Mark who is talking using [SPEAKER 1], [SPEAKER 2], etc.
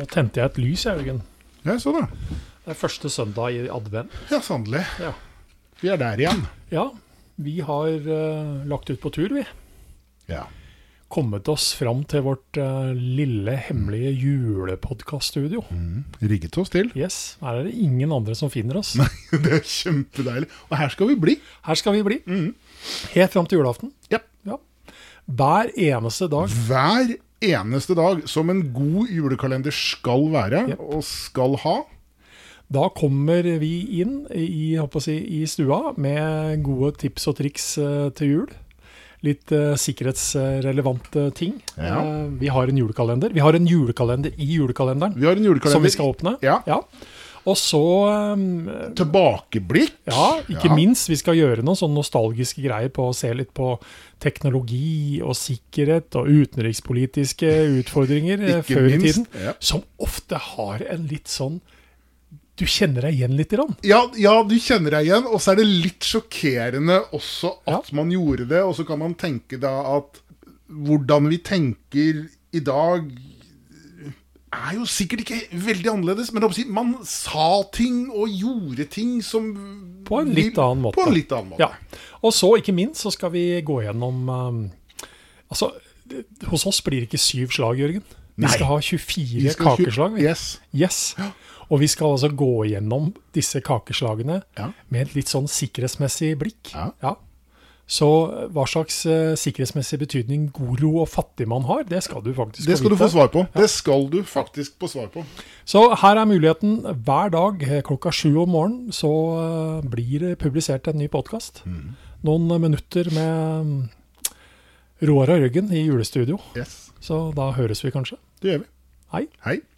[SPEAKER 1] Og tente jeg et lys, jeg, Jørgen.
[SPEAKER 2] Ja, jeg så det.
[SPEAKER 1] Det er første søndag i advent.
[SPEAKER 2] Ja, sannelig.
[SPEAKER 1] Ja.
[SPEAKER 2] Vi er der igjen.
[SPEAKER 1] Ja, vi har eh, lagt ut på tur, vi.
[SPEAKER 2] Ja.
[SPEAKER 1] Kommet oss fram til vårt eh, lille, hemmelige julepodkaststudio.
[SPEAKER 2] Mm. Rigget oss til.
[SPEAKER 1] Yes, her er det ingen andre som finner oss.
[SPEAKER 2] Det er kjempedeilig. Og her skal vi bli.
[SPEAKER 1] Her skal vi bli. Helt fram til julaften.
[SPEAKER 2] Ja.
[SPEAKER 1] Ja. Hver eneste dag.
[SPEAKER 2] Hver eneste dag, som en god julekalender skal være
[SPEAKER 1] Jep.
[SPEAKER 2] og skal ha.
[SPEAKER 1] Da kommer vi inn i, jeg håper å si, i stua med gode tips og triks eh, til jul. Litt eh, sikkerhetsrelevante ting.
[SPEAKER 2] Ja.
[SPEAKER 1] Eh, vi har en julekalender. Vi har en julekalender i julekalenderen
[SPEAKER 2] Vi har en julekalender.
[SPEAKER 1] som vi skal åpne.
[SPEAKER 2] Ja.
[SPEAKER 1] Og så eh,
[SPEAKER 2] Tilbakeblikk.
[SPEAKER 1] ja, ikke
[SPEAKER 2] Ja.
[SPEAKER 1] minst. Vi skal gjøre noen sånne nostalgiske greier på å se litt på teknologi og sikkerhet og utenrikspolitiske utfordringer eh,
[SPEAKER 2] Ikke
[SPEAKER 1] før i
[SPEAKER 2] minst,
[SPEAKER 1] tiden.
[SPEAKER 2] ja.
[SPEAKER 1] Som ofte har en litt sånn Du kjenner deg igjen litt i den.
[SPEAKER 2] Ja, ja, du kjenner deg igjen, og så er det litt sjokkerende også at man gjorde det, og så kan man tenke da at hvordan vi tenker i dag er jo sikkert ikke veldig annerledes, men jeg håper å si, man sa ting og gjorde ting som
[SPEAKER 1] På en litt annen måte.
[SPEAKER 2] På en litt annen måte.
[SPEAKER 1] Ja. Og så, ikke minst, så skal vi gå gjennom eh, Altså, det- hos oss blir det ikke syv slag, Jørgen. Vi
[SPEAKER 2] Nei.
[SPEAKER 1] skal ha 24
[SPEAKER 2] Vi skal kjø-
[SPEAKER 1] kakeslag. Vi.
[SPEAKER 2] Yes.
[SPEAKER 1] Yes. Og vi skal altså gå gjennom disse kakeslagene
[SPEAKER 2] Ja.
[SPEAKER 1] med et litt sånn sikkerhetsmessig blikk.
[SPEAKER 2] Ja.
[SPEAKER 1] Så eh, hva slags eh, sikkerhetsmessig betydning goro og fattigmann har, det skal du faktisk
[SPEAKER 2] Det skal du
[SPEAKER 1] vite.
[SPEAKER 2] få svar på. Det skal du faktisk få svar på.
[SPEAKER 1] Så her er muligheten. Hver dag eh, klokka sju om morgenen så eh, blir det publisert en ny podkast. Noen eh, minutter med mm, Roar og Jørgen i julestudio.
[SPEAKER 2] Yes.
[SPEAKER 1] Så da høres vi kanskje.
[SPEAKER 2] Det gjør vi.
[SPEAKER 1] Hei.
[SPEAKER 2] Hei.